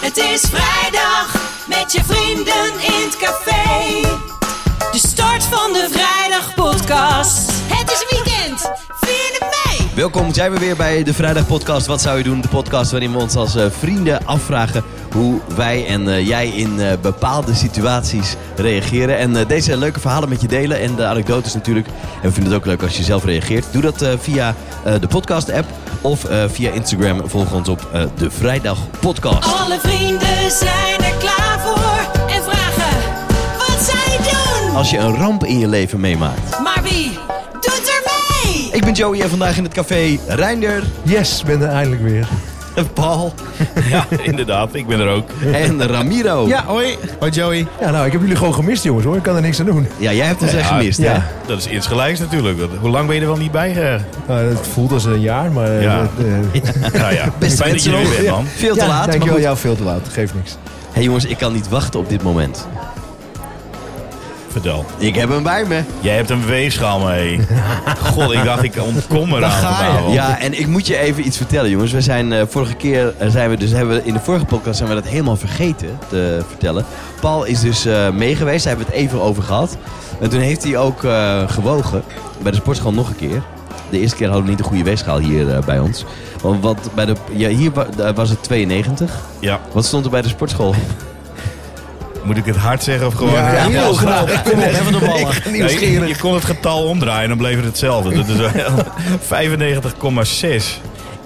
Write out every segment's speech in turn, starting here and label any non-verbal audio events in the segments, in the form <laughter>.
Het is vrijdag met je vrienden in het café. De start van de vrijdag podcast. Het is weekend, vierde mei. Welkom, zijn we weer bij de Vrijdag Podcast. Wat zou je doen? De podcast waarin we ons als eh, vrienden afvragen hoe wij en eh, jij in eh, bepaalde situaties reageren. En eh, deze leuke verhalen met je delen en de anekdotes natuurlijk. En we vinden het ook leuk als je zelf reageert. Doe dat eh, via eh, de podcast-app of eh, via Instagram. Volg ons op eh, de Vrijdag Podcast. Alle vrienden zijn er klaar voor en vragen wat zij doen. Als je een ramp in je leven meemaakt. Maar wie doet er mee? Ik ben Joey en vandaag in het café Reinder, <laughs> Yes, ben er eindelijk weer. Paul Ja, <laughs> inderdaad, ik ben er ook. en Ramiro. hoi. Hoi Joey. Ja, nou, ik heb jullie gewoon gemist, jongens, hoor. Ik kan er niks aan doen. Ja, jij hebt ons echt Ja, gemist, hè? ja. Dat is insgelijks natuurlijk. Dat- Hoe lang ben je er wel niet bij? <laughs> eh? Nou, het voelt als een jaar, maar... eh, Ja. dat, eh, nou ja, Beste fijn dat je er weer mensen. bent, man. Veel te ja, laat, maar Dankjewel, goed. jou veel te laat. Geeft niks. Hé hey jongens, ik kan niet wachten op dit moment. Vertel. Ik heb hem bij me. Jij hebt een weegschaal mee. <laughs> God, ik dacht ik ontkom Ah, eraan ga je. vanavond. Ja, en ik moet je even iets vertellen, jongens. We zijn eh, vorige keer, eh, zijn we dus, hebben we, in de vorige podcast zijn we dat helemaal vergeten te vertellen. Paul is dus eh meegeweest, daar hebben we het even over gehad. En toen heeft hij ook eh, gewogen bij de sportschool nog een keer. De eerste keer hadden we niet de goede weegschaal hier eh, bij ons. Want wat bij de, ja, hier wa- daar was het 92. Ja. Wat stond er bij de sportschool? Moet ik het hard zeggen of gewoon... Ja, heel graag. Kom op, even de ballen. Ja, je- je, kon het getal omdraaien en dan bleef het hetzelfde. Dat is <laughs> wel 95,6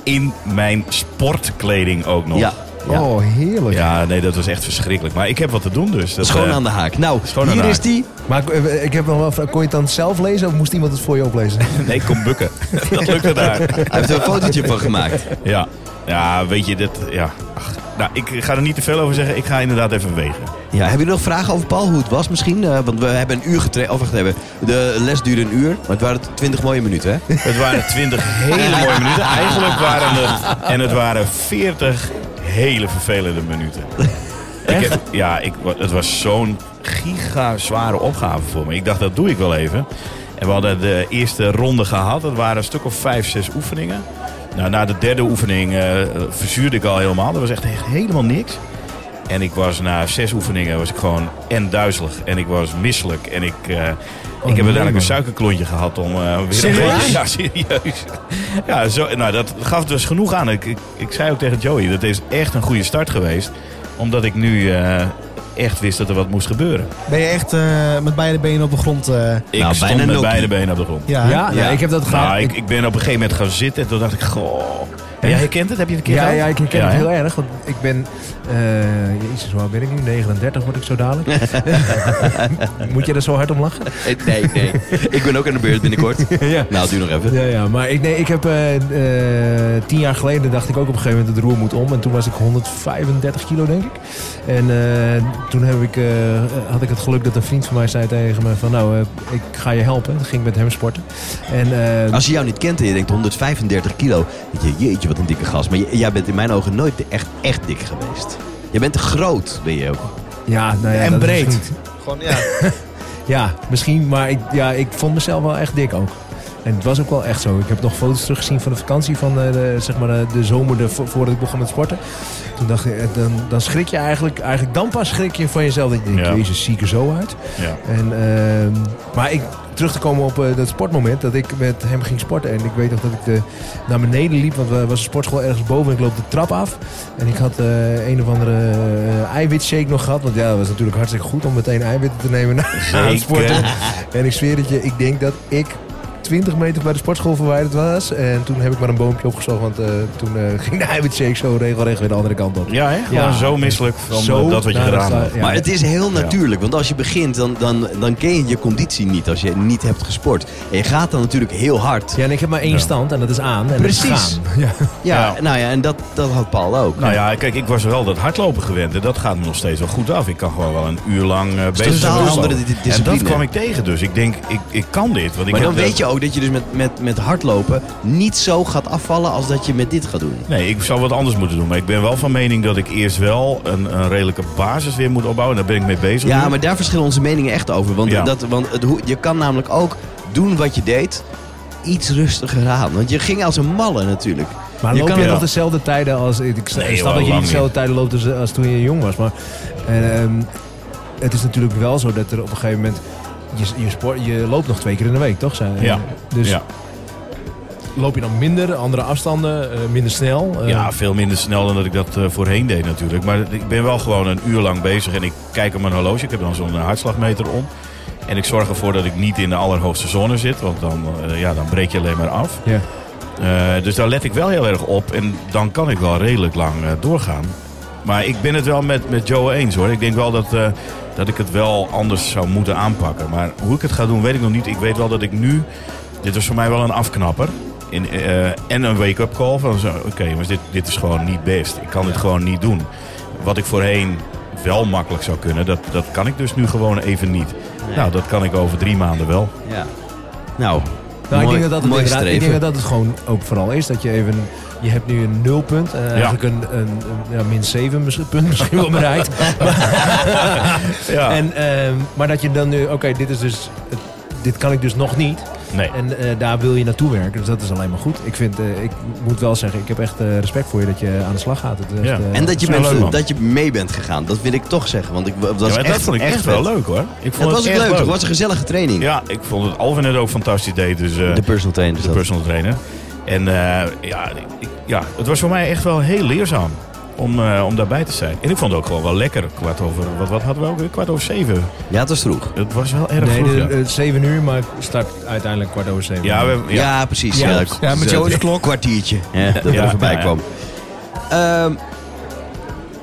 in mijn sportkleding ook nog. Ja. ja. Oh, heerlijk. Ja, nee, dat was echt verschrikkelijk. Maar ik heb wat te doen dus. Dat, Schoon eh, aan de haak. Nou, schoon aan hier de is haak. die. Maar eh, ik heb nog wel... een vraag. Kon je het dan zelf lezen of moest iemand het voor je oplezen? <laughs> Nee, ik kon bukken. <laughs> dat lukte daar. Hij heeft er een fotootje van <laughs> gemaakt. Ja, ja weet je, dit, ja. Ach, nou, ik ga er niet te veel over zeggen. Ik ga inderdaad even wegen. Ja, hebben jullie nog vragen over Paul, hoe het was misschien? Eh, want we hebben een uur getraind. Of wacht even, de les duurde een uur. Maar het waren twintig mooie minuten, hè? Het waren 20 hele mooie minuten. Eigenlijk waren het... En het waren 40 hele vervelende minuten. Ik heb- ja, ik, wa- het was zo'n giga zware opgave voor me. Ik dacht, dat doe ik wel even. En we hadden de eerste ronde gehad. Dat waren een stuk of vijf, zes oefeningen. Nou, na de derde oefening eh, verzuurde ik al helemaal. Dat was echt, echt helemaal niks. En ik was na zes oefeningen was ik gewoon en duizelig. En ik was misselijk. En ik, eh, Oh, ik heb uiteindelijk een suikerklontje gehad om eh, weer een beetje... <laughs> Ja, serieus. Ja, zo, nou, dat gaf dus genoeg aan. Ik, ik, ik zei ook tegen Joey, dat is echt een goede start geweest. Omdat ik nu eh, echt wist dat er wat moest gebeuren. Nou, Ben je echt eh, met beide benen op de grond? eh, Ik Nou, stond bijna met nokkie. beide benen op de grond. ja, Ja? hè? Ja, ik heb dat gedaan. Nou, ik, ik ben op een gegeven moment gaan zitten en toen dacht ik, goh. En jij herkent het? Heb je het een keer Ja, gehad? ja, ik herken het hè? heel erg. Want ik ben... eh, jezus, waar ben ik nu? 39 word ik zo dadelijk. <laughs> Moet je er zo hard om lachen? Eh, Nee, nee. Ik ben ook aan de beurt binnenkort. ja. Nou, duur nog even. Ja, ja, maar ik, nee, ik heb eh, eh, tien jaar geleden dacht ik ook op een gegeven moment het roer moet om. En toen was ik 135 kilo, denk ik. En eh, toen heb ik, eh, had ik het geluk dat een vriend van mij zei tegen me van nou, eh, ik ga je helpen. Toen ging ik met hem sporten. En eh, Als je jou niet kent en je denkt 135 kilo. denk je, jeetje, wat een dikke gast. Maar j- jij bent in mijn ogen nooit de- echt, echt dik geweest. Je bent te groot, ben je ook. ja, nou ja, En dat is breed. misschien- Gewoon, ja. <laughs> ja, misschien, maar ik, ja, ik vond mezelf wel echt dik ook. En het was ook wel echt zo. Ik heb nog foto's teruggezien van de vakantie van eh, de, zeg maar, eh, de zomer de, vo- voordat ik begon met sporten. Toen dacht ik, eh, dan, dan schrik je eigenlijk, eigenlijk dan pas schrik je van jezelf. Dat je denkt, Ja. jezus, zie ik er zo uit. Ja. En, ehm, maar ik, terug te komen op eh, dat sportmoment, dat ik met hem ging sporten. En ik weet nog dat ik de, naar beneden liep, want er was een sportschool ergens boven. En ik loop de trap af. En ik had eh, een of andere eh, eiwitshake nog gehad. Want ja, dat was natuurlijk hartstikke goed om meteen eiwitten te nemen na na het sporten. En ik zweer het je, ik denk dat ik 20 meter bij de sportschool verwijderd was. En toen heb ik maar een boompje opgezocht, want eh, toen eh, <laughs> ging de eiwitshake zo regelrecht weer de andere kant op. Ja, hè? Gewoon Ja. zo misselijk van Zo, eh, dat wat je nou, dat gedaan is, hebt. eh, Ja. Maar het is heel natuurlijk, want als je begint, dan, dan, dan ken je je conditie niet als je niet hebt gesport. En je gaat dan natuurlijk heel hard. Ja, en ik heb maar één stand en dat is aan. En Dat Precies. is gaan. Ja. Ja, Ja. nou ja, en dat, dat had Paul ook. Nou ja, kijk, ik was wel dat hardlopen gewend. En dat gaat me nog steeds wel goed af. Ik kan gewoon wel een uur lang eh bezig totaal zijn met andere hardlopen. di- En discipline. dat kwam ik tegen. Dus ik denk, ik, ik kan dit. Want ik Maar dan heb dat- weet je ook dat je dus met, met, met hardlopen niet zo gaat afvallen als dat je met dit gaat doen. Nee, ik zou wat anders moeten doen. Maar ik ben wel van mening dat ik eerst wel een, een redelijke basis weer moet opbouwen. Daar ben ik mee bezig. Ja, nu. maar daar verschillen onze meningen echt over. Want, Mhm. Ja. dat, want het, hoe- je kan namelijk ook doen wat je deed, iets rustiger aan. Want je ging als een malle natuurlijk. Maar Je loop kan je het- nog Ja. dezelfde tijden als... Ik, ik Nee, snap joh, dat je lang niet dezelfde niet. tijden loopt als, als toen je jong was. Maar eh, ehm, het is natuurlijk wel zo dat er op een gegeven moment... Je, je, sport, je loopt nog twee keer in de week, toch? Zijn- Ja. Dus ja. loop je dan minder, andere afstanden, eh, minder snel? eh, ja, veel minder snel dan dat ik dat eh, voorheen deed natuurlijk. Maar ik ben wel gewoon een uur lang bezig en ik kijk op mijn horloge. Ik heb dan zo'n eh, hartslagmeter om. En ik zorg ervoor dat ik niet in de allerhoogste zone zit, want dan, eh, ja, dan breek je alleen maar af. ja. Eh, dus daar let ik wel heel erg op. En dan kan ik wel redelijk lang eh, doorgaan. Maar ik ben het wel met, met Joe eens hoor. Ik denk wel dat, eh, dat ik het wel anders zou moeten aanpakken. Maar hoe ik het ga doen, weet ik nog niet. Ik weet wel dat ik nu. Dit was voor mij wel een afknapper. In, eh, en een wake-up call van zo. Oké, jongens, dit, dit is gewoon niet best. Ik kan dit gewoon niet doen. Wat ik voorheen wel makkelijk zou kunnen, dat, dat kan ik dus nu gewoon even niet. Nee. Nou, dat kan ik over drie maanden wel. Ja. Nou, Nou, mooi, ik, denk dat dat mooi het inderdaad- ik streven. denk dat dat het gewoon ook vooral is. Dat je even... Je hebt nu een nulpunt. eh, Eigenlijk een, een, een- ja, min 7 punt misschien wel bereikt. Ja, En, ehm, maar dat je dan nu... Oké, dit is dus... het- dit kan ik dus nog niet. nee. En eh, daar wil je naartoe werken. Dus dat is alleen maar goed. Ik, vind, eh, ik moet wel zeggen, ik heb echt eh, respect voor je dat je aan de slag gaat. Het is echt, Ja. eh, En dat je, Ja, bent- leuk, man. dat je mee bent gegaan, dat wil ik toch zeggen. Want ik, dat, was Ja, maar echt, dat vond ik echt, echt wel vet. leuk hoor. Ik Dat vond was ook echt leuk, het was een gezellige training. Ja, ik vond het Alvin het ook fantastisch deed. Dus, eh, De personal trainer. de zat. personal trainer. En eh, ja, ik- ja, het was voor mij echt wel heel leerzaam om, eh, om daarbij te zijn. En ik vond het ook gewoon wel lekker. Kwart over, wat, wat hadden we ook weer? Kwart over zeven. Ja, het was vroeg. Het was wel erg Nee, vroeg, de- ja. eh, 7 uur, maar ik start uiteindelijk kwart over 7. ja, we, Ja, ja. precies. Ja, dat- ja, met dat- <laughs> Joe's dat- klok. Kwartiertje, ja, dat Ja, er voorbij ja, ja. kwam. Ehm,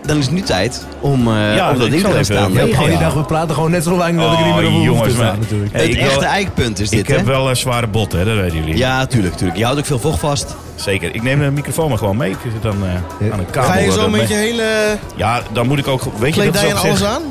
dan is het nu tijd om, eh, Ja, om dat ik in zal te gaan even staan. meegaan. Ik Ja. die dag, we praten gewoon net zo lang dat ik er niet meer Oh, op hoef te jongens, staan maar- natuurlijk. Hey, Het ik wil- echte eikpunt is dit, ik heb hè? wel een zware botten, hè, dat weten jullie. Ja, tuurlijk, tuurlijk. Je houdt ook veel vocht vast. Zeker. Ik neem de microfoon maar gewoon mee. Ik zit dan eh, Ja. aan een kabel. Ga je dat zo dat met mee- je hele Ja, dan moet ik ook... Weet je, dat is kledij en op zich- alles aan?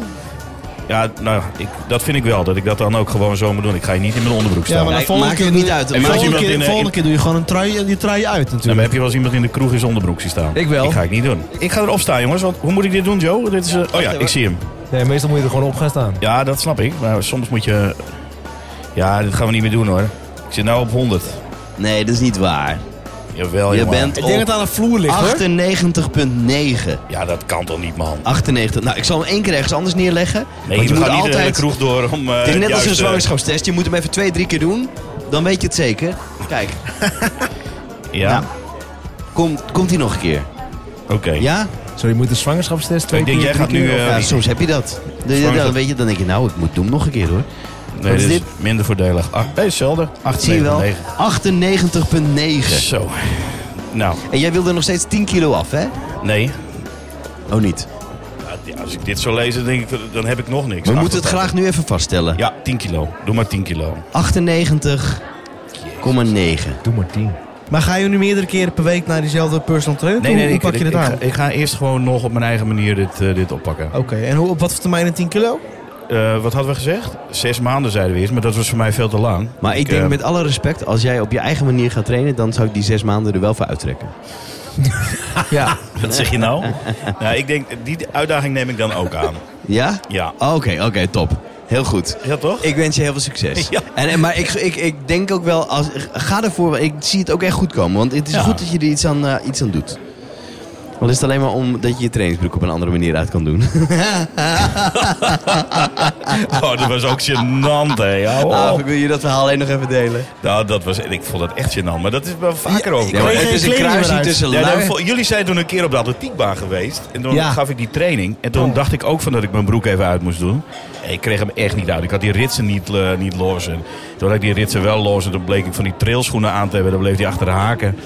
Ja, nou, ik, dat vind ik wel. Dat ik dat dan ook gewoon zo moet doen. Ik ga je niet in mijn onderbroek staan. Ja, maar Nee, de volgende maakt keer het doe- niet uit. de En als Volgende, iemand keer, in een- volgende keer doe je gewoon een trui, die trui uit Nou, maar natuurlijk. heb je wel eens iemand in de kroeg in zijn onderbroek zien staan? Ik wel. Die ga ik niet doen. Ik ga erop staan, jongens. Want hoe moet ik dit doen, Joe? Dit is, eh, oh ja, ik zie hem. Nee, meestal moet je er gewoon op gaan staan. Ja, dat snap ik. Maar soms moet je... Ja, dit gaan we niet meer doen, hoor. Ik zit nou op 100. Nee, dat is niet waar. Jawel, Je jongen. bent Ik denk dat op het aan de vloer ligt hoor. 98,9. Ja, dat kan toch niet, man? 98. Nou, ik zal hem één keer ergens anders neerleggen. Nee, want je we moet gaan niet de altijd... kroeg door om... eh, het is net als juist, een eh, zwangerschapstest. Je moet hem even twee, drie keer doen. Dan weet je het zeker. Kijk, Ja, Nou, komt, komt hij nog een keer? oké. Ja? Zo, je moet de zwangerschapstest twee Ik denk, keer, jij drie gaat keer nu, of- eh, Ja, soms heb je dat. Dan, dan- dan weet je, dan denk je, nou, ik moet doen nog een keer hoor. Nee, Wat is dit is minder voordelig. Ah, nee, hetzelfde. 8, dus Zie je wel? 9. 98,9. Zo. Nou, En jij wilde nog steeds 10 kilo af, hè? nee. Ah, Oh, niet. Ja, Als ik dit zo lees, dan denk ik, dat- dan heb ik nog niks. We moeten het 88. graag nu even vaststellen. Ja, 10 kilo. Doe maar 10 kilo. 98,9. Doe maar tien. Maar ga je nu meerdere keren per week naar diezelfde personal trainer? Nee, Hoe- nee, hoe ik, pak ik, je ik, dit aan? ga, ik ga eerst gewoon nog op mijn eigen manier dit, eh, dit oppakken. Oké, en hoe, op wat voor termijn een 10 kilo? Eh, wat hadden we gezegd? Zes maanden zeiden we eerst, maar dat was voor mij veel te lang. Maar ik denk eh, met alle respect, als jij op je eigen manier gaat trainen, dan zou ik die zes maanden er wel voor uittrekken. Ja. Wat zeg je <laughs> nou? nou, ik denk, die uitdaging neem ik dan ook aan. Ja? Ja. Oké, oké, top. Heel goed. Ja, toch? Ik wens je heel veel succes. <laughs> Ja. En, en- maar ik, ik, ik denk ook wel, als, ga ervoor, want ik zie het ook echt goed komen. Want het is Ja. goed dat je er iets aan, eh, iets aan doet. Al is het alleen maar omdat je je trainingsbroek op een andere manier uit kan doen. Oh, dat was ook gênant, hè. <laughs> Ja, oh. Ah, ik wil je dat verhaal alleen nog even delen. Nou, dat was, ik vond dat echt gênant, maar dat is wel vaker Ja, over. ik Ja, maar kreeg het geen is een kleding meer kruising uit. tussen Ja, lui. nou, voor- jullie zijn toen een keer op de atletiekbaan geweest. En toen Ja. Oh. gaf ik die training. En toen dacht ik ook van dat ik mijn broek even uit moest doen. En ik kreeg hem echt niet uit. Ik had die ritsen niet, eh, niet los. En toen had ik die ritsen wel los. En toen bleek ik van die trailschoenen aan te hebben. Dan bleef die achter de haken.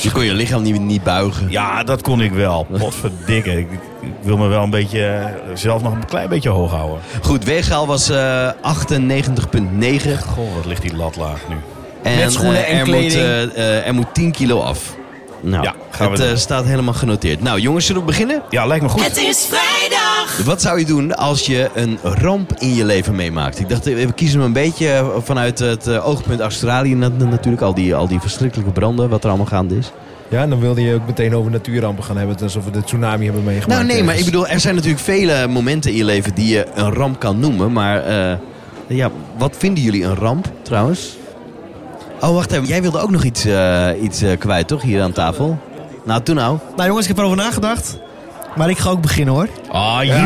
Je kon je lichaam niet, niet buigen. Ja, dat kon ik <laughs> wel. Potverdikke. Ik, ik wil me wel een beetje eh, zelf nog een klein beetje hoog houden. Goed, weegschaal was eh 98,9. Goh, wat ligt die lat laag nu. En, Met schoenen eh, en er kleding. Moet, eh, eh, er moet 10 kilo af. Nou, Ja, gaan we het eh, doen. staat helemaal genoteerd. Nou jongens, zullen we beginnen? Ja, lijkt me goed. Het is vrijdag. Wat zou je doen als je een ramp in je leven meemaakt? Ik dacht, eh, we kiezen hem een beetje eh, vanuit het eh, oogpunt Australië na- na- natuurlijk. Al die, al die verschrikkelijke branden, wat er allemaal gaande is. Ja, en dan wilde je ook meteen over natuurrampen gaan hebben. Alsof we de tsunami hebben meegemaakt. nou Dus nee, maar ik ergens. bedoel, er zijn natuurlijk vele momenten in je leven die je een ramp kan noemen. Maar eh, ja, wat vinden jullie een ramp trouwens? Oh, wacht even. Jij wilde ook nog iets, eh, iets eh, kwijt, toch? Hier aan tafel. Nou, toen nou. Nou jongens, ik heb erover nagedacht. Maar ik ga ook beginnen hoor. Ah, Oh,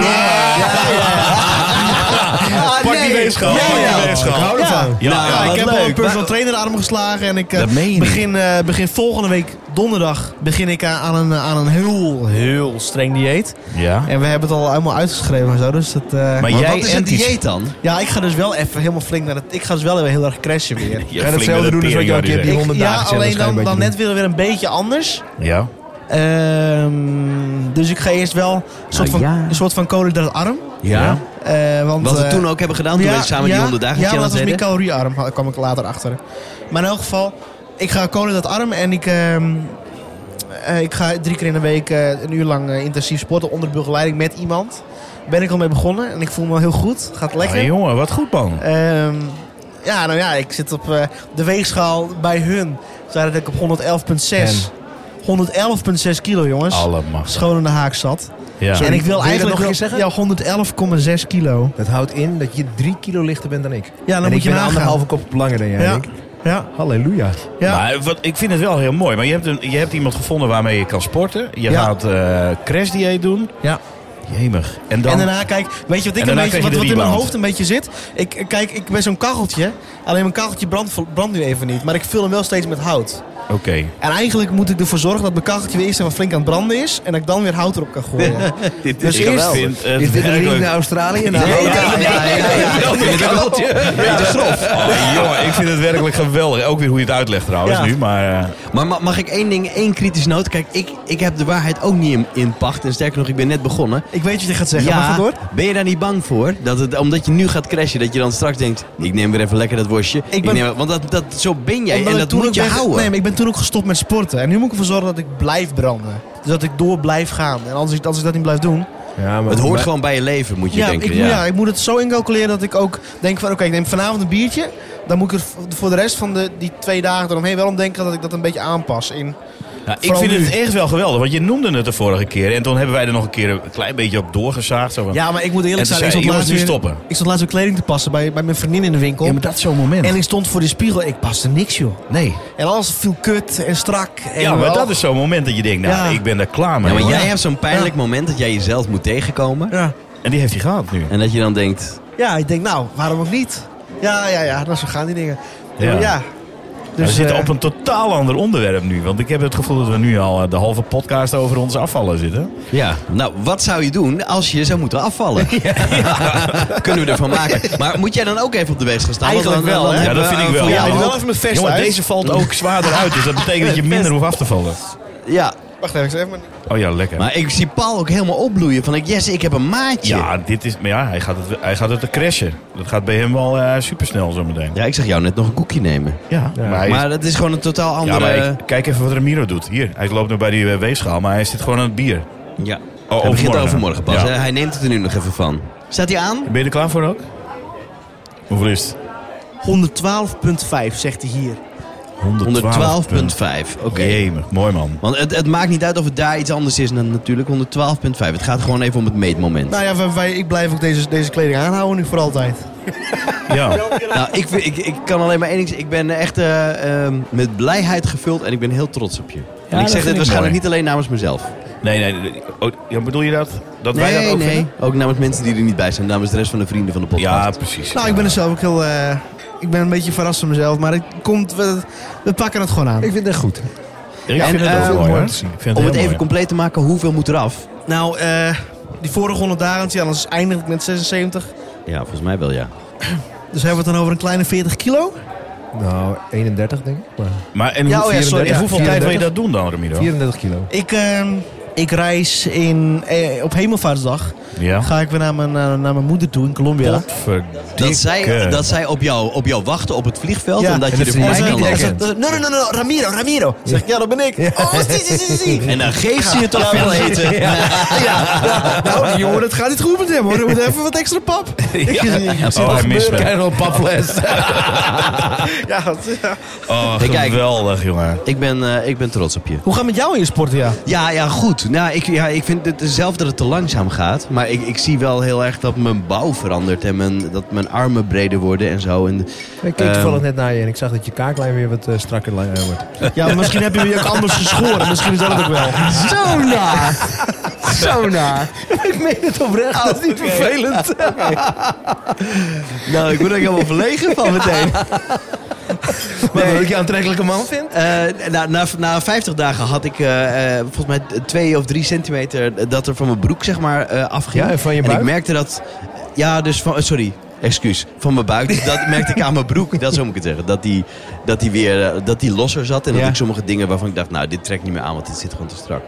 Ah, Pak die weegschaal. Ja, Pak ja. die Ik weegschaal. Ah, Oh, hou ervan. Ja, Nou, ja. Ja, wat ik heb leuk. al een personal Maar- trainer arm geslagen. En ik eh, Dat meen je niet. begin, eh, begin volgende week donderdag begin ik aan- aan een, aan een heel, heel streng dieet. En we hebben het al helemaal uitgeschreven en zo. Dus dat, eh, Maar Maar jij wat is en een die- dieet dan? ja, ik ga dus wel even helemaal flink naar het. Ik ga dus wel even heel erg <laughs> crashen weer. Je Ga je flink met datzelfde de doen als wat je al een tering, keer die Ik- 100 ja, dagen challenge alleen ga je een dan, beetje dan doen. net weer, weer een beetje anders. Ja. Ehm, dus ik ga eerst wel een soort Ah, van, Nou, ja. een soort van koolhydraatarm. Ja. Eh, want, Wat we eh, toen ook hebben gedaan, toen we samen die 100 dagen ja, maar dat challenge was meer deden. caloriearm, ha- kwam ik later achter. Maar in elk geval, ik ga koolhydraatarm en ik, ehm, eh, ik ga drie keer in de week eh, een uur lang eh, intensief sporten onder begeleiding met iemand. Ben ik al mee begonnen en ik voel me heel goed. Gaat lekker. Ah, jongen, wat goed man. Ehm, ja, nou ja, ik zit op eh, de weegschaal bij hun. Zei dat ik op 111,6. 111,6 kilo, jongens. Allemaal. Schoon in de haak zat. Ja. en ik Wil je wil dat nog eigenlijk een keer wel- Ja, 111,6 kilo. Dat houdt in dat je drie kilo lichter bent dan ik. Ja, dan en moet ik je ben nagaan. anderhalve kop langer dan jij. Ja. Nick. Ja, Halleluja. ja. Maar wat, ik vind het wel heel mooi. Maar je hebt, een, je hebt iemand gevonden waarmee je kan sporten. Je Ja. gaat eh crash dieet doen. Ja. Jemig. En dan... En daarna, kijk, weet je wat, ik En een daarna beetje, krijg je wat, de wat in mijn rebound. hoofd een beetje zit? Ik, eh, kijk, ik ben zo'n kacheltje. Alleen mijn kacheltje brandt, vol- brandt nu even niet. Maar ik vul hem wel steeds met hout. Oké. En eigenlijk moet ik ervoor zorgen dat mijn kacheltje weer eerst even flink aan het branden is. En dat ik dan weer hout erop kan gooien. Dit Dus Ik eerst- vind Eh, het Is dit een link werkelijk- naar Australië? Ja, Nou, ja, ja, ja, ja, ja. Ik vind het ook wel een beetje grof. Oh, jongen, ik vind het werkelijk geweldig. Ook weer hoe je het uitlegt trouwens Ja. nu. Maar eh, Maar ma- mag ik één ding, één kritisch noot? Kijk, ik, ik heb de waarheid ook niet in, in pacht. En sterker nog, ik ben net begonnen. ik weet wat je gaat zeggen, maar ga ja, door. ben je daar niet bang voor? Dat het, omdat je nu gaat crashen, dat je dan straks denkt... ik neem weer even lekker dat worstje. Ik ben- neem, want dat, dat, zo ben jij Omdat en ik dat toen moet ook je ben- houden. Nee, maar ik ben toen ook gestopt met sporten. En nu moet ik ervoor zorgen dat ik blijf branden. Dus dat ik door blijf gaan. En als ik, als ik dat niet blijf doen... Ja, maar het hoort maar- gewoon bij je leven, moet je Ja, denken. ik, moet- ja, ik moet het zo incalculeren dat ik ook denk van... Oké, ik neem vanavond een biertje. Dan moet ik er v- voor de rest van de, die twee dagen eromheen wel om denken... dat ik dat een beetje aanpas in... nou, ik Vooral vind nu. het echt wel geweldig. Want je noemde het de vorige keer. En toen hebben wij er nog een keer een klein beetje op doorgezaagd. Zo van, Ja, maar ik moet En eerlijk toen zijn. Ik zei stond, je, laatst jongens, nu weer, stoppen. ik stond laatst weer kleding te passen bij, bij mijn vriendin in de winkel. Ja, maar dat is zo'n moment. en ik stond voor de spiegel. Ik paste niks, joh. nee. En alles viel kut en strak. En Ja, maar wel- dat is zo'n moment dat je denkt, nou, Ja. ik ben daar klaar mee. Ja, maar hoor. jij hebt zo'n pijnlijk Ja. moment dat jij jezelf moet tegenkomen. Ja. En die heeft hij gehad nu. En dat je dan denkt... ja, ik denk, nou, waarom ook niet? Ja, ja, ja, dat zo gaan die dingen. Ja. Ja. ja. we zitten eh, op een totaal ander onderwerp nu. Want ik heb het gevoel dat we nu al eh, de halve podcast over ons afvallen zitten. Ja, nou, wat zou je doen als je zou moeten <laughs> afvallen? <laughs> Kunnen we ervan maken. Maar moet jij dan ook even op de weegschaal staan? Want Eigenlijk dan- wel, dan hè? Ja, hebben dat we vind ik een wel. ja, volledig- ik maar wil ook- even mijn vest Jongen, uit. deze valt ook zwaarder uit. Dus dat betekent dat je minder hoeft af te vallen. Ja, Wacht even, ik zal even... Oh ja, lekker. maar ik zie Paul ook helemaal opbloeien. Van, ik, yes, ik heb een maatje. ja, dit is, maar ja, hij gaat het, hij gaat het te crashen. Dat gaat bij hem wel eh supersnel zometeen. Ja, ik zag jou net nog een koekje nemen. Ja, maar, hij is- Maar dat is gewoon een totaal ja, andere... maar ik- kijk even wat Ramiro doet. Hier, hij loopt nu bij die eh, weegschaal, maar hij zit gewoon aan het bier. ja. Oh, Hij begint overmorgen. overmorgen pas. Ja. hè? Hij neemt het er nu nog even van. Staat hij aan? Ben je er klaar voor ook? Hoeveel is het? 112,5 zegt hij hier. 112,5. Oké. Jemig, mooi man. Want het, het maakt niet uit of het daar iets anders is dan natuurlijk 112,5. Het gaat gewoon even om het meetmoment. Nou ja, wij, wij- ik blijf ook deze, deze kleding aanhouden nu voor altijd. Ja. Nou, ik, vind- ik, ik kan alleen maar één ding zeggen. Ik ben echt eh, ehm, met blijheid gevuld en ik ben heel trots op je. en ik dat zeg vind dit ik waarschijnlijk mooi. niet alleen namens mezelf. Nee, nee. nee. Oh, ja, bedoel je dat? Dat wij dat nee, ook nee. vinden? Ook namens mensen die er niet bij zijn. Namens de rest van de vrienden van de podcast. Ja, precies. Nou, ik ben er zelf ook heel... eh, ik ben een beetje verrast van mezelf, maar het komt, we, we pakken het gewoon aan. Ik vind het goed. Ik Ja, vind en, het eh, ook mooi. mooi hoor. te zien. Ik vind Om het heel even mooi. compleet te maken, hoeveel moet eraf? Nou, eh, die vorige 100 dagen, ja, anders eindig ik met 76. Ja, volgens mij wel ja. Dus hebben we het dan over een kleine 40 kilo? Nou, 31 denk ik. Maar Maar en, Ja, hoe- oh ja, sorry, en ja. hoeveel tijd wil je dat doen dan, Ramiro? 34 kilo. Ik, ehm, ik reis in, eh, op Hemelvaartsdag. Ja. <laughs> Ga ik weer naar mijn, naar, naar mijn moeder toe in Colombia. Dat zij, dat zij op, jou, op jou wachten op het vliegveld. Ja, omdat en je dat er ze voorbij je kan niet lopen. herkent. eh, No, no, no, no, Ramiro, Ramiro. Zeg ik, ja, dat ben ik. Oh, zie, zie, zie, zie. <laughs> En dan geeft ze je toch veel eten. Nou, die jongen, dat gaat niet goed met hem hoor. We moeten even wat extra pap. Ik zie- ik zie- Oh, hij mist me. al paples. ja, wat- ja. Oh, Hey, kijk. geweldig, jongen. Ik ben, eh, ik ben trots op je. Hoe gaat het met jou in je sporten, ja? Ja, ja, goed. goed. Nou, ik, ja, ik vind het zelf dat het te langzaam gaat. Maar ik, ik zie wel heel erg dat mijn bouw verandert. En mijn, dat mijn armen breder worden en zo. En, Ik keek toevallig net naar je en ik zag dat je kaaklijn weer wat eh, strakker li- eh, wordt. Ja, maar misschien heb je je ook anders geschoren. Misschien is dat het ook wel. Zo naar! Zo naar! ik meen het oprecht, dat is niet vervelend. nou, ik word er helemaal verlegen van meteen. Maar dat ik je aantrekkelijke man vind? Eh, na, na, na 50 dagen had ik eh, eh, volgens mij twee of drie centimeter dat er van mijn broek zeg maar eh afging. Ja, en van je En buik? ik merkte dat, ja dus van, eh, sorry, excuus, van mijn buik. Dat merkte ik aan mijn broek, dat zo moet ik het zeggen. Dat die, dat die weer, eh, dat die losser zat en Ja. dat ik sommige dingen waarvan ik dacht, nou dit trekt niet meer aan want dit zit gewoon te strak.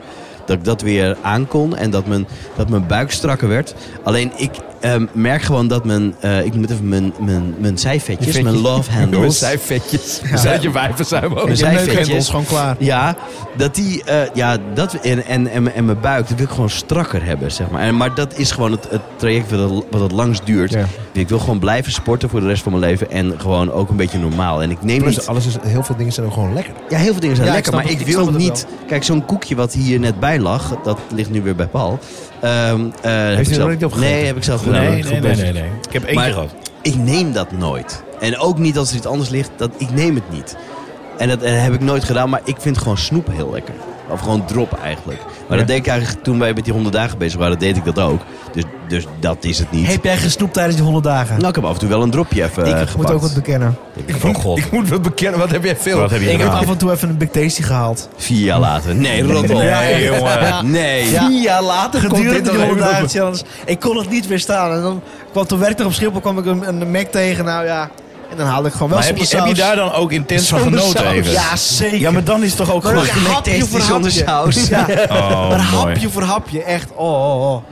Dat ik dat weer aan kon en dat mijn, dat mijn buik strakker werd. Alleen ik eh, merk gewoon dat mijn, eh, ik noem het even mijn, mijn, mijn zijvetjes, vetjes. mijn <laughs> love handles. Met zijvetjes. Ja. Zijn je wijven zijn we ook. Mijn Je neukhendel zijvetjes. is gewoon klaar. Ja, dat die, eh, ja, dat en, en, en, en mijn buik, dat wil ik gewoon strakker hebben, zeg maar. En, maar dat is gewoon het, het traject wat het, wat het langst duurt. Ja. Ik wil gewoon blijven sporten voor de rest van mijn leven en gewoon ook een beetje normaal. En ik neem Plus, niet, alles is, heel veel dingen zijn ook gewoon lekker. ja, heel veel dingen zijn Ja, ik lekker, snap maar ik het, ik wil snap het niet, kijk, zo'n koekje wat hier net bij lag, dat ligt nu weer bij Paul. Ehm eh, heb nog ik zelf- niet opgegeten? Nee, heb ik zelf gedaan. Nee, Goed nee, nee, bezig. nee, nee. Ik heb één Maar- keer gehad. Ik neem dat nooit. En ook niet als er iets anders ligt. Dat, ik neem het niet. En dat, en dat heb ik nooit gedaan. Maar ik vind gewoon snoep heel lekker. Of gewoon drop eigenlijk. Maar dat deed ik eigenlijk toen wij met die 100 dagen bezig waren. deed ik dat ook. Dus, dus dat is het niet. Heb jij gesnoept tijdens die 100 dagen? Nou, ik heb af en toe wel een dropje even Nou, eh, ik moet gepakt. ook wat bekennen. Ik van god. Ik moet wel bekennen, wat heb jij veel? Wat heb je Ik heb gedaan? af en toe even een Big Tasty gehaald. Vier jaar later. Nee, rot op. Nee, jongen. Nee. Ja. Vier jaar later Gedurende die 100 dagen challenge. Ik kon het niet weerstaan. En dan kwam toen werkte op Schiphol kwam ik een, een Mac tegen. Nou ja. En dan haalde ik gewoon wel Maar heb zonder je, heb je saus. daar dan ook intens van Zonder genoten saus. even? Ja, zeker. Ja, maar dan is het toch ook Maar goed. dan een hapje Tasty voor zonder hapje. saus. Ja. Oh, maar mooi. hapje voor hapje, echt. Oh, oh, oh.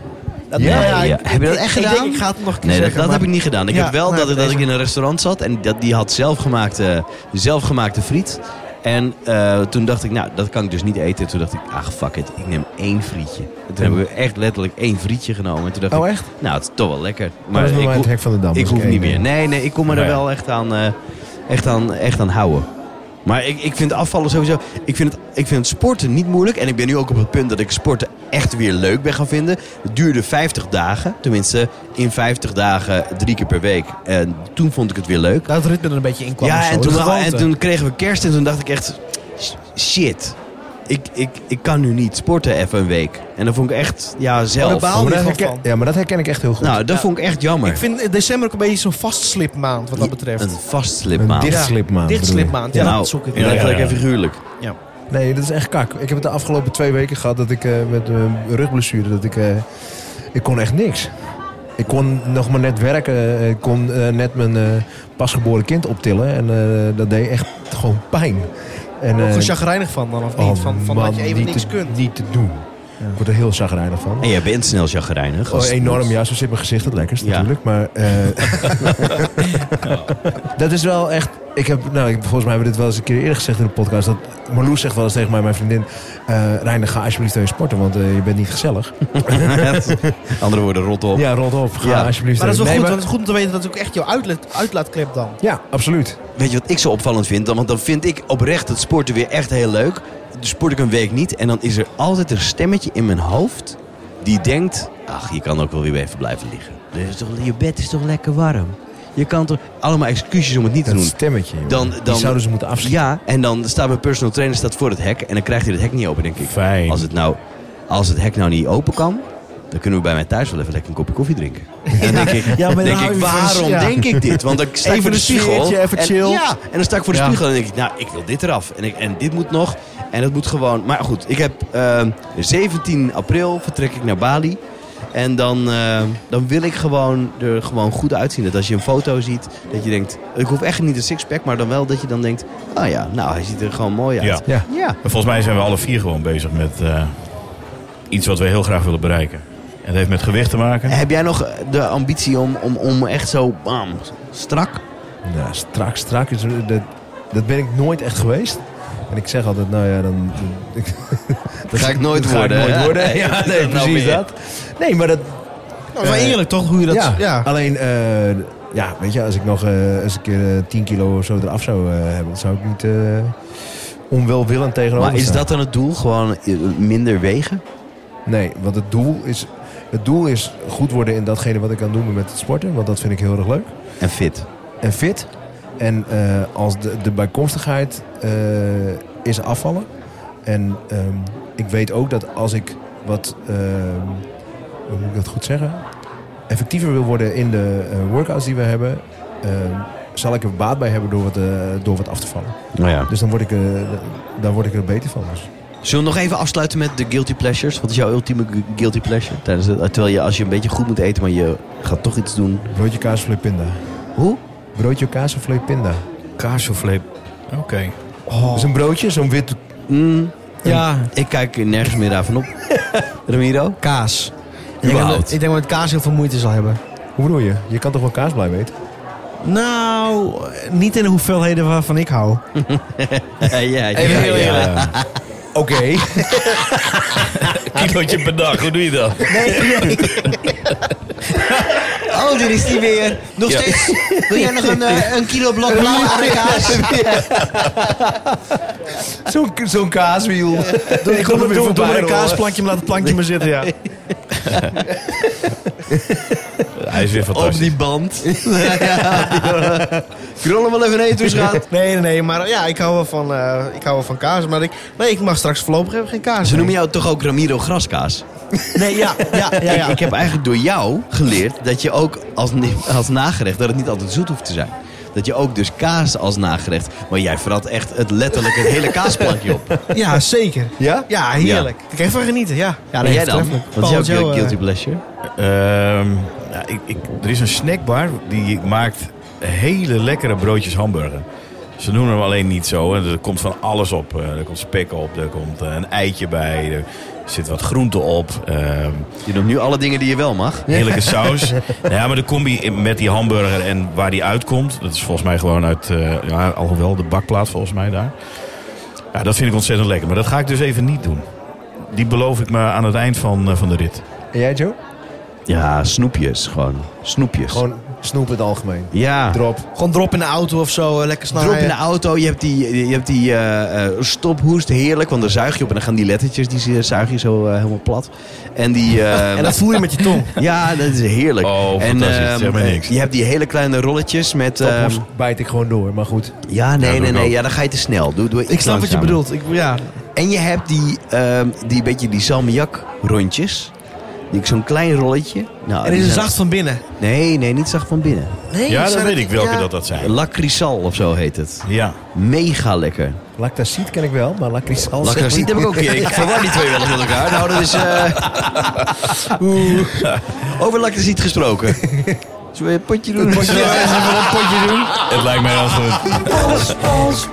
Dat- Ja, nou ja. ik- Heb je dat ik- echt Ik gedaan? denk, ik ga het nog een keer Nee, dat, zeggen. dat maar- heb ik niet gedaan. Ik Ja, heb wel nou, dat, dat deze. ik in een restaurant zat en dat, die had zelfgemaakte, zelfgemaakte friet. En eh, toen dacht ik, nou, dat kan ik dus niet eten. Toen dacht ik, ach, fuck it, ik neem één frietje. En toen hebben we echt letterlijk één frietje genomen. En toen dacht Oh, ik, echt? nou, het is toch wel lekker. Maar Maar dat ik, is bij mij het hoef- hek van de dam. ik dus hoef één, niet eh, meer. Nee, nee, ik kon me er Nee. wel echt aan, eh, echt aan, echt aan houden. Maar ik, ik vind afvallen sowieso... Ik vind, het, ik vind het sporten niet moeilijk. En ik ben nu ook op het punt dat ik sporten echt weer leuk ben gaan vinden. Het duurde 50 dagen. Tenminste, in 50 dagen drie keer per week. En toen vond ik het weer leuk. Dat het ritme er een beetje in kwam. of Ja, zo. en De toen, gewoonte. en toen kregen we kerst en toen dacht ik echt... Shit, ik, ik, ik kan nu niet sporten even een week. En dat vond ik echt ja, zelf. baal- maar dat Hou je herken- van? Ja, maar dat herken ik echt heel goed. Nou, dat vond ik echt jammer. Ik vind december ook een beetje zo'n vastslipmaand wat dat betreft. Een een vastslipmaand. dichtslipmaand. Dichtslipmaand, ja. nou, dat zoek ik. Ja, ja. letterlijk en figuurlijk. Nee, dat is echt kak. Ik heb het de afgelopen twee weken gehad dat ik eh, met een rugblessure dat ik eh, ik kon echt niks. Ik kon nog maar net werken. eh, Ik kon eh, net mijn eh, pasgeboren kind optillen en eh, dat deed echt gewoon pijn. En, Ook eh, chagrijnig van dan, of oh, niet? Van, van dat je man, even niet niks te- kunt. Niet te doen. Ik word er heel zagrijnig van. En jij bent snel chagrijnig. Oh, enorm, ja. Zo zit mijn gezicht het lekkerst Ja. natuurlijk. Maar eh, dat is wel echt... Ik heb, nou, ik, volgens mij hebben we dit wel eens een keer eerder gezegd in de podcast. Dat Marloes zegt wel eens tegen mij, mijn vriendin... eh Reiner, ga alsjeblieft even sporten, want eh, je bent niet gezellig. <laughs> Andere woorden, rot op. Ja, rot op. Ga Ja. alsjeblieft Maar dat is wel even- goed, Nee, want het is goed om te weten dat het ook echt jouw uitlaat, uitlaatklep dan. maar- Ja, absoluut. Weet je wat ik zo opvallend vind? Dan- Want dan vind ik oprecht het sporten weer echt heel leuk. Dus sport ik een week niet. En dan is er altijd een stemmetje in mijn hoofd die denkt... Ach, je kan ook wel weer even blijven liggen. Er is toch, je bed is toch lekker warm? Je kan toch... Allemaal excuses om het niet te Dat doen. stemmetje, jongen. Dan- Die dan- zouden ze moeten afschieten. Ja, en dan staat mijn personal trainer staat voor het hek. En dan krijgt hij het hek niet open, denk ik. Fijn. Als het, nou, als het hek nou niet open kan, dan kunnen we bij mij thuis wel even lekker een kopje koffie drinken. En dan denk ik, Ja, maar dan denk hou ik je van- waarom ja. denk ik dit? Want dan sta ik Even voor de een spiegel. sfeertje, even en, chill. Ja, en dan sta ik voor de Ja. spiegel en denk ik, nou, ik wil dit eraf. En, ik, en dit moet nog. En dat moet gewoon. Maar goed, ik heb ehm, 17 april vertrek ik naar Bali. En dan, ehm, dan wil ik gewoon er gewoon goed uitzien. Dat als je een foto ziet, dat je denkt... Ik hoef echt niet een sixpack, maar dan wel dat je dan denkt... Ah ja, nou, hij ziet er gewoon mooi uit. Ja. Ja. Ja. Maar volgens mij zijn we alle vier gewoon bezig met eh, iets wat we heel graag willen bereiken. En het heeft met gewicht te maken. Heb jij nog de ambitie om, om, om echt zo bam, strak? Nou, strak, strak. Is, dat, dat ben ik nooit echt geweest. En ik zeg altijd, nou ja, dan... <laughs> Ik, dat ga ik nooit dat worden, Ga ik hè? nooit worden. Nee, Ja, dat is nee, dat nou precies weer. dat. Nee, maar dat... Nou, wel Eh, eerlijk toch, hoe je dat... ja. ja. alleen... eh, ja, weet je, als ik nog eh, eens een keer eh, 10 kilo of zo eraf zou eh, hebben... dan zou ik niet eh, onwelwillend tegenover Maar is staan. dat dan het doel? Gewoon eh, minder wegen? Nee, want het doel is, het doel is goed worden in datgene wat ik aan het doen ben met het sporten. Want dat vind ik heel erg leuk. En fit. En fit. En eh, als de, de bijkomstigheid eh, is afvallen. En ehm, ik weet ook dat als ik wat, ehm, hoe moet ik dat goed zeggen? Effectiever wil worden in de eh, workouts die we hebben. ehm, zal ik er baat bij hebben door wat, eh, door wat af te vallen. Nou ja. Dus dan word ik, eh, daar word ik er beter van. Dus. Zullen we nog even afsluiten met de guilty pleasures? Wat is jouw ultieme gu- guilty pleasure? Tijdens het, terwijl je, als je een beetje goed moet eten, maar je gaat toch iets doen. Broodje kaas of pinda. Hoe? Broodje kaas of pinda. Kaarsoufflé. Oké. Dus een broodje, zo'n wit... Mm, Ja, ik kijk nergens meer daarvan op. <laughs> Ramiro? kaas. Ik denk, Überhaupt. dat, ik denk dat kaas heel veel moeite zal hebben. Hoe bedoel je? Je kan toch wel kaas blijven eten? Nou, eh, niet in de hoeveelheden waarvan ik hou. ja, Eh, ja, ja. Ja, ja. Oké. Kilootje per dag, hoe doe je dat? Oh, dit is die weer. Nog Ja. steeds. Wil jij nog <laughs> een, eh, een kilo blok blauwe aardekaas? Zo'n zo'n kaaswiel. Doe, Ik kom er weer doe, doe voorbij, maar een hoor. kaasplankje, maar laat het plankje maar <laughs> zitten, ja. Hij is weer Op fantastisch. die band. ja, <laughs> ja. Krul hem wel even heen, toe schat. <laughs> Nee, nee, nee, maar ja, ik hou wel van, eh, ik hou wel van kaas. Maar ik, nee, ik mag straks voorlopig even geen kaas. Ze meer. noemen jou toch ook Ramiro Graskaas? Nee, ja, ja, ja. ja. <laughs> Ik, ik heb eigenlijk door jou geleerd dat je ook als, ni- als nagerecht, dat het niet altijd zoet hoeft te zijn. Dat je ook dus kaas als nagerecht. Maar jij verrat echt het letterlijk het hele kaasplankje op. Ja, zeker. Ja? Ja, heerlijk. Ik heb van genieten, ja. ja en jij dan? voortreffelijk. Wat is Paul jouw Joe, guilty eh, pleasure? Ehm, ja, ik, ik, er is een snackbar die maakt hele lekkere broodjes hamburger. Ze doen hem alleen niet zo. hè. Er komt van alles op. Eh, Er komt spek op, er komt eh, een eitje bij, er zit wat groente op. ehm, Je noemt nu alle dingen die je wel mag. <laughs> heerlijke saus. Nou ja, maar de combi in- met die hamburger en waar die uitkomt... dat is volgens mij gewoon uit, eh, ja, alhoewel de bakplaat volgens mij daar. Ja, dat vind ik ontzettend lekker. Maar dat ga ik dus even niet doen. Die beloof ik me aan het eind van, eh, van de rit. En jij, Joe? Ja, snoepjes gewoon. Snoepjes. Gewoon snoep in het algemeen. ja. Drop. eh, Gewoon drop in de auto of zo, eh, lekker snel Drop in de rijden. auto, je hebt die, je hebt die eh, eh, stophoest, heerlijk, want daar zuig je op en dan gaan die lettertjes, die zuig je zo eh, helemaal plat. En die... eh, En dat voel je met je <laughs> tong. Ja, dat is heerlijk. Oh, en, fantastisch. ehm, Zeg maar niks. Je hebt die hele kleine rolletjes met... ehm, Topmoes bijt ik gewoon door, maar goed. ja, Ja, nee, doe nee, ik nee. ook. Ja, dan ga je te snel. Doe, doe Ik snap wat je bedoelt. Ik, ja. En je hebt die, ehm, die beetje die salmiak rondjes. Die zo'n klein rolletje. Nou, En die is een zijn- zacht van binnen. Nee, nee, niet zacht van binnen. Nee, Ja, dat zijn weet het- ik welke ja. dat dat zijn. Lacrisal of zo heet het. Ja. Mega lekker. Lactacid ken ik wel, maar lacrisal... Lacrisal Oh, heb ik ook. Ik verwar die twee wel eens met elkaar. Nou, dat is... eh, <laughs> Oeh. Over lacrisal gesproken. Zullen we een potje doen? Het lijkt mij wel goed.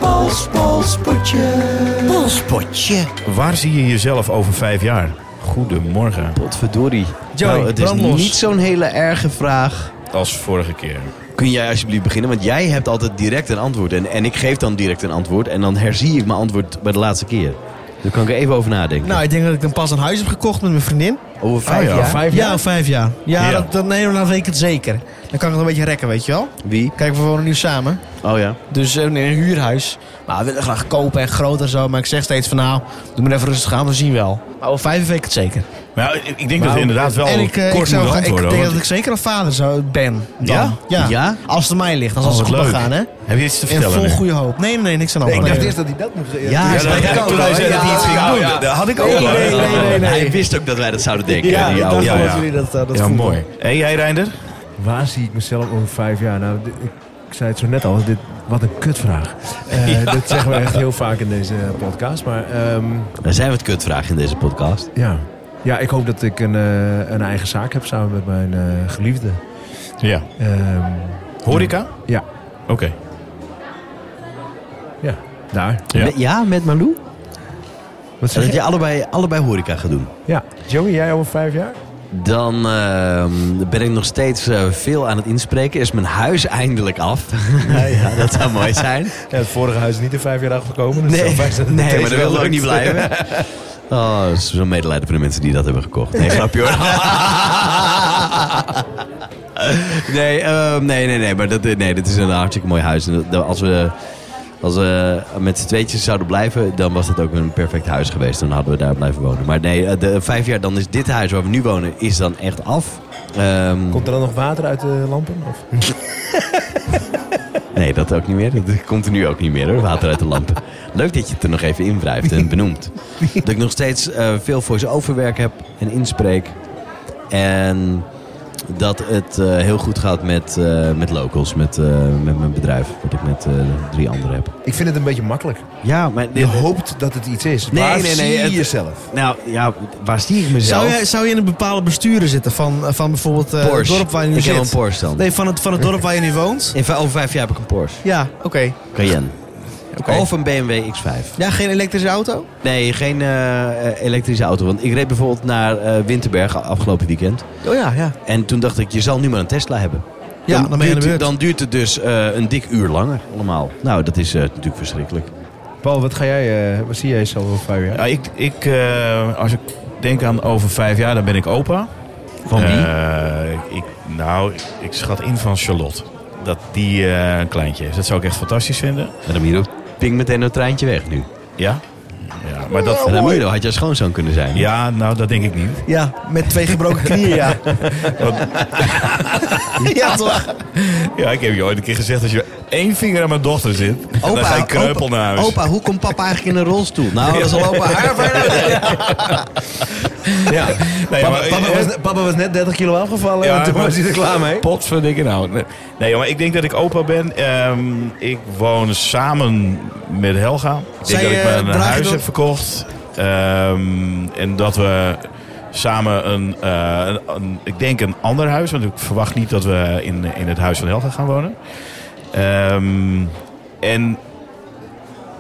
Potje. Waar zie je jezelf over vijf jaar? Goedemorgen. Potverdorie. Joey, nou, het is brand los. niet zo'n hele erge vraag. Als vorige keer. Kun jij alsjeblieft beginnen? Want jij hebt altijd direct een antwoord. En, en ik geef dan direct een antwoord. En dan herzie ik mijn antwoord bij de laatste keer. Daar kan ik er even over nadenken. Nou, ik denk dat ik dan pas een huis heb gekocht met mijn vriendin. over vijf oh ja, jaar. Vijf Ja, jaar? of vijf jaar. Ja, Ja. Dat, dan, nee, dan weet ik het zeker. Dan kan ik het een beetje rekken, weet je wel. Wie? Kijk, we wonen nu samen. Oh ja. Dus eh, in een huurhuis. Maar we willen graag kopen en groot en zo. Maar ik zeg steeds van nou, doe maar even rustig aan, we zien wel. Maar over vijf weet ik het zeker. Maar ja, ik, ik denk dat het inderdaad wel Nou, en ik, eh, ik, Oh, kort zou, moet gra- ik antwoorden. denk hoor. dat ik zeker een vader zou ben. dan. Ja? ja? Ja? Als het aan mij ligt, als Oh, alles wat goed mag leuk. gaan, hè. Heb je iets te In vertellen vol nu? goede hoop. Nee, nee, niks aan de hand. Ik dacht Nee. eerst dat hij dat moest... Ja, Ja, dat- Ja, toen hij zei dat hij iets ging doen, dat- dat had ik ook al. Nee, nee, nee, nee. Hij wist ook dat wij dat zouden denken. Ja, die ik oude dacht wel ja, man. dat ja. jullie dat, eh, dat Ja, voelen. Oh, mooi. En jij, Reinder? Waar zie ik mezelf over vijf jaar? Nou, dit- ik ik zei het zo net al, dit, wat een kutvraag. <laughs> Eh Dat zeggen we echt heel vaak in deze podcast. Maar ehm, Er zijn wat kutvragen in deze podcast. ja. ja, ik hoop dat ik een, eh, een eigen zaak heb samen met mijn eh, geliefde. Ja. Ehm, Horeca? Ja. Oké. ja, daar. Ja. Met, ja, met Malou? En Wat zeg dat je? je allebei, allebei horeca gaat doen. Ja. Joey, jij over vijf jaar? Dan ehm, ben ik nog steeds eh, veel aan het inspreken. Is mijn huis eindelijk af? <laughs> dat zou mooi zijn. Ja, het vorige huis is niet in vijf jaar afgekomen. Dus Nee, zo fijn dat het nee deze maar dat wil wel ook niet lukt. blijven. <laughs> Oh, dat is zo'n medelijden voor de mensen die dat hebben gekocht. Nee, grapje hoor. <laughs> eh, nee, ehm, nee, nee, nee, maar dat, nee, dit is een hartstikke mooi huis. En dat- dat- als we Als we met z'n tweetjes zouden blijven, dan was dat ook een perfect huis geweest. Dan hadden we daar blijven wonen. Maar nee, eh, de vijf jaar, dan is dit huis waar we nu wonen, is dan echt af. Ehm, Komt er dan nog water uit de lampen? Of? nee, dat ook niet meer. Dat komt er nu ook niet meer hoor, water uit de lampen. Leuk dat je het er nog even invrijft en benoemt. Dat ik nog steeds eh, veel voice-over werk heb en inspreek. En dat het eh, heel goed gaat met, eh, met locals, met, eh, met mijn bedrijf. Wat ik met eh, drie anderen heb. Ik vind het een beetje makkelijk. Ja, maar Je hoopt dat het iets is. Nee, Waar nee, nee, zie je het- jezelf? Nou ja, waar zie ik mezelf? Zou jij, zou je in een bepaalde besturen zitten van, van bijvoorbeeld eh, het Porsche. dorp waar je nu ik zit? heb een Porsche dan. Nee, van het, van het dorp waar je nu woont? In, v- over vijf jaar heb ik een Porsche. Ja, oké. Cayenne. Oké. Of een BMW X5. Ja, geen elektrische auto? Nee, geen eh, eh, elektrische auto. Want ik reed bijvoorbeeld naar eh Winterberg afgelopen weekend. Oh ja, ja. En toen dacht ik, je zal nu maar een Tesla hebben. Ja, dan, ben je aan duurt, de beurt. dan duurt het dus eh, een dik uur langer allemaal. Nou, dat is eh, natuurlijk verschrikkelijk. Paul, wat, ga jij, eh, wat zie jij jezelf over vijf jaar? Ja, ik, ik, eh, als ik denk aan over vijf jaar, dan ben ik opa. Van wie? Eh, ik, nou, ik, ik schat in van Charlotte. Dat die eh, een kleintje heeft. Dat zou ik echt fantastisch vinden. En Ramiro ping meteen een treintje weg nu. Ja? Ja, maar dat... En Ramiro had jouw schoonzoon kunnen zijn. Ja, nou, dat denk ik niet. Ja, met twee gebroken knieën, ja. <laughs> ja, toch? Ja, ik heb je ooit een keer gezegd, als je één vinger aan mijn dochter zit, dan ga je kreupel opa, naar huis. Opa, hoe komt papa eigenlijk in een rolstoel? Nou, dat is al opa haar verder. Ja. Nee, Papa, maar- eh, papa was, papa was net 30 kilo afgevallen en toen maar- was hij eh, er klaar mee. Potverdikke nou. Nee, Nee, maar ik denk dat ik opa ben. Ehm, ik woon samen met Helga. Ik denk Zij, dat ik eh, mijn dragen huis door- heb verkocht. Ehm, en dat we samen een, eh, een- een- ik denk een ander huis. Want ik verwacht niet dat we in, in het huis van Helga gaan wonen. Ehm, en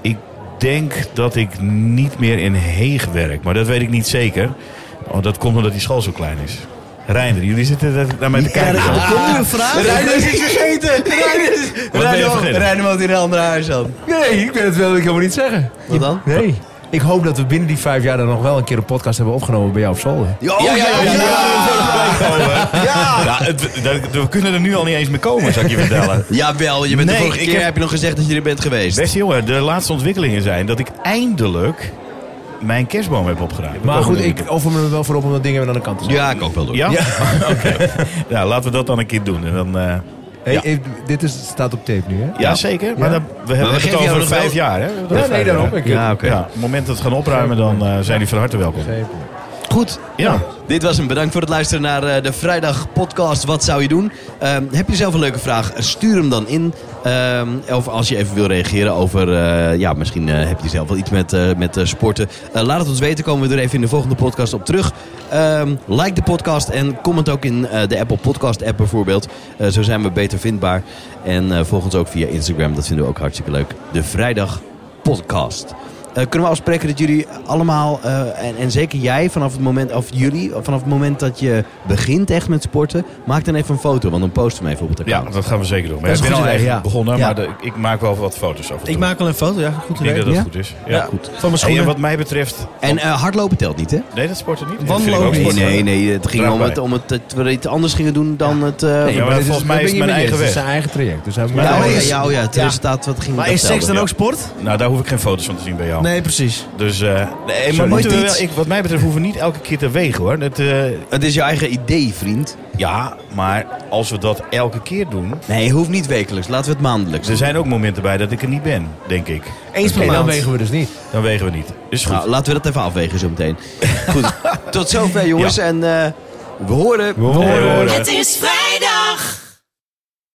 ik denk dat ik niet meer in Heeg werk. Maar dat weet ik niet zeker. Oh, dat komt omdat die school zo klein is. Reinder, jullie zitten er naar mij te kijken. Ja, er komt nu een vraag. is iets vergeten! Wat ben je vergeten? Rijnmond in een ander huis dan. Nee, ik ben het wel, ik helemaal niet zeggen. Wat dan? Nee. Ik hoop dat we binnen die vijf jaar dan nog wel een keer een podcast hebben opgenomen bij jou op school. ja, ja, ja, ja. Ja, het- dat- we kunnen er nu al niet eens meer komen, zou ik je vertellen. Jawel, je bent Nee, de vorige ik keer heb- heb je nog gezegd dat je er bent geweest. Beste jongen, de laatste ontwikkelingen zijn dat ik eindelijk mijn kerstboom heb opgeruimd. Maar goed, ik offer me er wel voor op om dat ding even aan de kant te zetten. Ja, ik ook wel door. Ja? <laughs> Oké. Nou, laten we dat dan een keer doen. En dan, eh, Hey, hey, dit is, staat op tape nu, hè? ja, zeker. Maar Ja. dan- we hebben geven het jou over nog vijf wel- jaar. Hè? We Ja, hebben het over nee, vijf daarom. jaar. Ik, eh, Ja, oké. Ja, op het moment dat we het gaan opruimen, dan eh, zijn die van harte welkom. Geen probleem. Goed, Ja. dit was hem. Bedankt voor het luisteren naar eh, de vrijdag podcast. Wat zou je doen? Ehm, heb je zelf een leuke vraag? Stuur hem dan in. Ehm, of als je even wil reageren over, eh, ja, misschien eh, heb je zelf wel iets met, eh, met eh, sporten. Eh, laat het ons weten. Komen we er even in de volgende podcast op terug. Ehm, like de podcast en comment ook in eh, de Apple Podcast app bijvoorbeeld. Eh, zo zijn we beter vindbaar. En eh, volg ons ook via Instagram. Dat vinden we ook hartstikke leuk. De vrijdag podcast. Eh, kunnen we afspreken dat jullie allemaal, eh, en, en zeker jij vanaf het moment, of jullie, vanaf het moment dat je begint echt met sporten, maak dan even een foto, want dan posten we hem even op het ja, account. dat gaan we zeker doen. Maar Dat is ik ben een al goed idee, echt ja. begonnen, Ja. maar de- ik maak wel wat foto's over. Ik maak wel een foto, ja. Goed Ik denk idee. dat dat Ja. goed is. Ja. Ja, goed. goed. Van mijn Hey, en schoenen. wat mij betreft... En eh, hardlopen telt niet, hè? Nee, dat sporten niet. Wandelen Dat vind ik ook ook niet. nee, sporten. nee, het ging Draag om bij. het, om het dat we iets anders gingen doen dan het... eh, maar dit volgens mij dat is ben je mijn niet eens. eigen Het is weg. zijn eigen traject. Dus hij moet ja, maar oh ja, is- ja, oh ja, het ja. resultaat wat ging Maar dat is seks telde. dan ook sport? Nou, daar hoef ik geen foto's van te zien bij jou. Nee, precies. Dus, eh, nee, maar Sorry. moeten we Nooit wel, iets. ik, wat mij betreft hoeven we niet elke keer te wegen hoor. Dat, eh, Het is je eigen idee, vriend. ja, maar als we dat elke keer doen. Nee, hoeft niet wekelijks. Laten we het maandelijks Er zijn ook momenten bij dat ik er niet ben, denk ik. Eens per En dan maand. wegen we dus niet. Dan wegen we niet. Is goed. Nou, laten we dat even afwegen zo meteen. Goed, tot zover jongens. Ja. En eh, we horen... horen. Het is vrijdag.